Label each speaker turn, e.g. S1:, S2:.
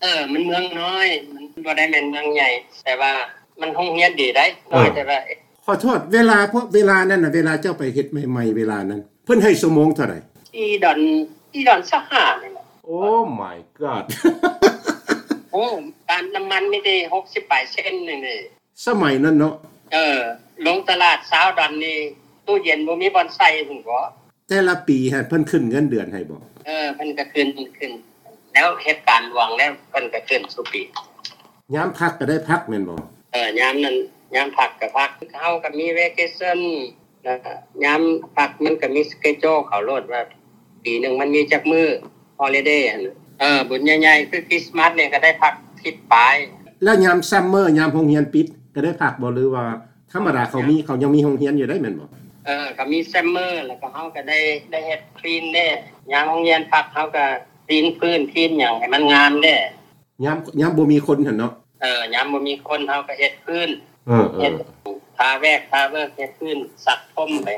S1: เออ มันเมืองน้อย มันบ่ได้เป็นเมืองใหญ่ แต่ว่ามันห้องเฮียนดีได้น้อยแต่ว่า
S2: ขอโทษเวลาพวกเวลานั่นน่ะเวลาเจ้าไปเฮ็ดใหม่ๆเวลานั้น เพิ่นให้สมงเท่าไหร่
S1: อีดอนอีดอนสหานี่แหละ
S2: โอ้ my god
S1: โอ้ตามน้ำมันนี่ได้หกสิบแปดเซนต์นี่นี่
S2: สมัยนั้นเนาะ
S1: เออ ลงตลาดเช้าดอนนี่ตู้เย็นบ่มีบอนไซถึงบ่
S2: แต่ละปีฮะเพิ่นขึ้นเงินเดือนให้บ่
S1: เออเพิ่นก็ขึ้นขึ้น แล้วเหตุการณ์วังแล้วเพิ่นก็ขึ้นสุปี
S2: ยามพักก็ได้พักแม่นบ่
S1: เออยามนั้นยามผักกับผักเขาก็มีเวกเซนนะยามผักมันก็มีสเกจโจเขาโลดว่าปีหนึ่งมันมีจักมือฮอลิเดย์เออ บุญใหญ่ๆคือคริสต์มาสเนี่ยก็ได้พักทิศปลาย
S2: แล้วยามซัมเมอร์ยามโรงเรียนปิด ก็ได้พักบ่หรือว่าธรรมดาเขามีเขายังมีโรงเรียนอยู่ได้แม่นบ่
S1: เออก็มีแซมเมอร์ แล้วก็เขาก็ได้ได้เฮ็ดคลีนเด้ยามโรงเรียนพักเขาก็คลีนพื้นคลีนอย่างให้มันงามเด้
S2: ยามยามบ่มีคนหั่นเนาะ
S1: เออยามบ่มีคนเขาก็เฮ็ดพื้น
S2: เออเอ
S1: เฮ็ด
S2: อ
S1: ทาแวกทาเวิร์กเฮ็ดพื้นสักพรมไป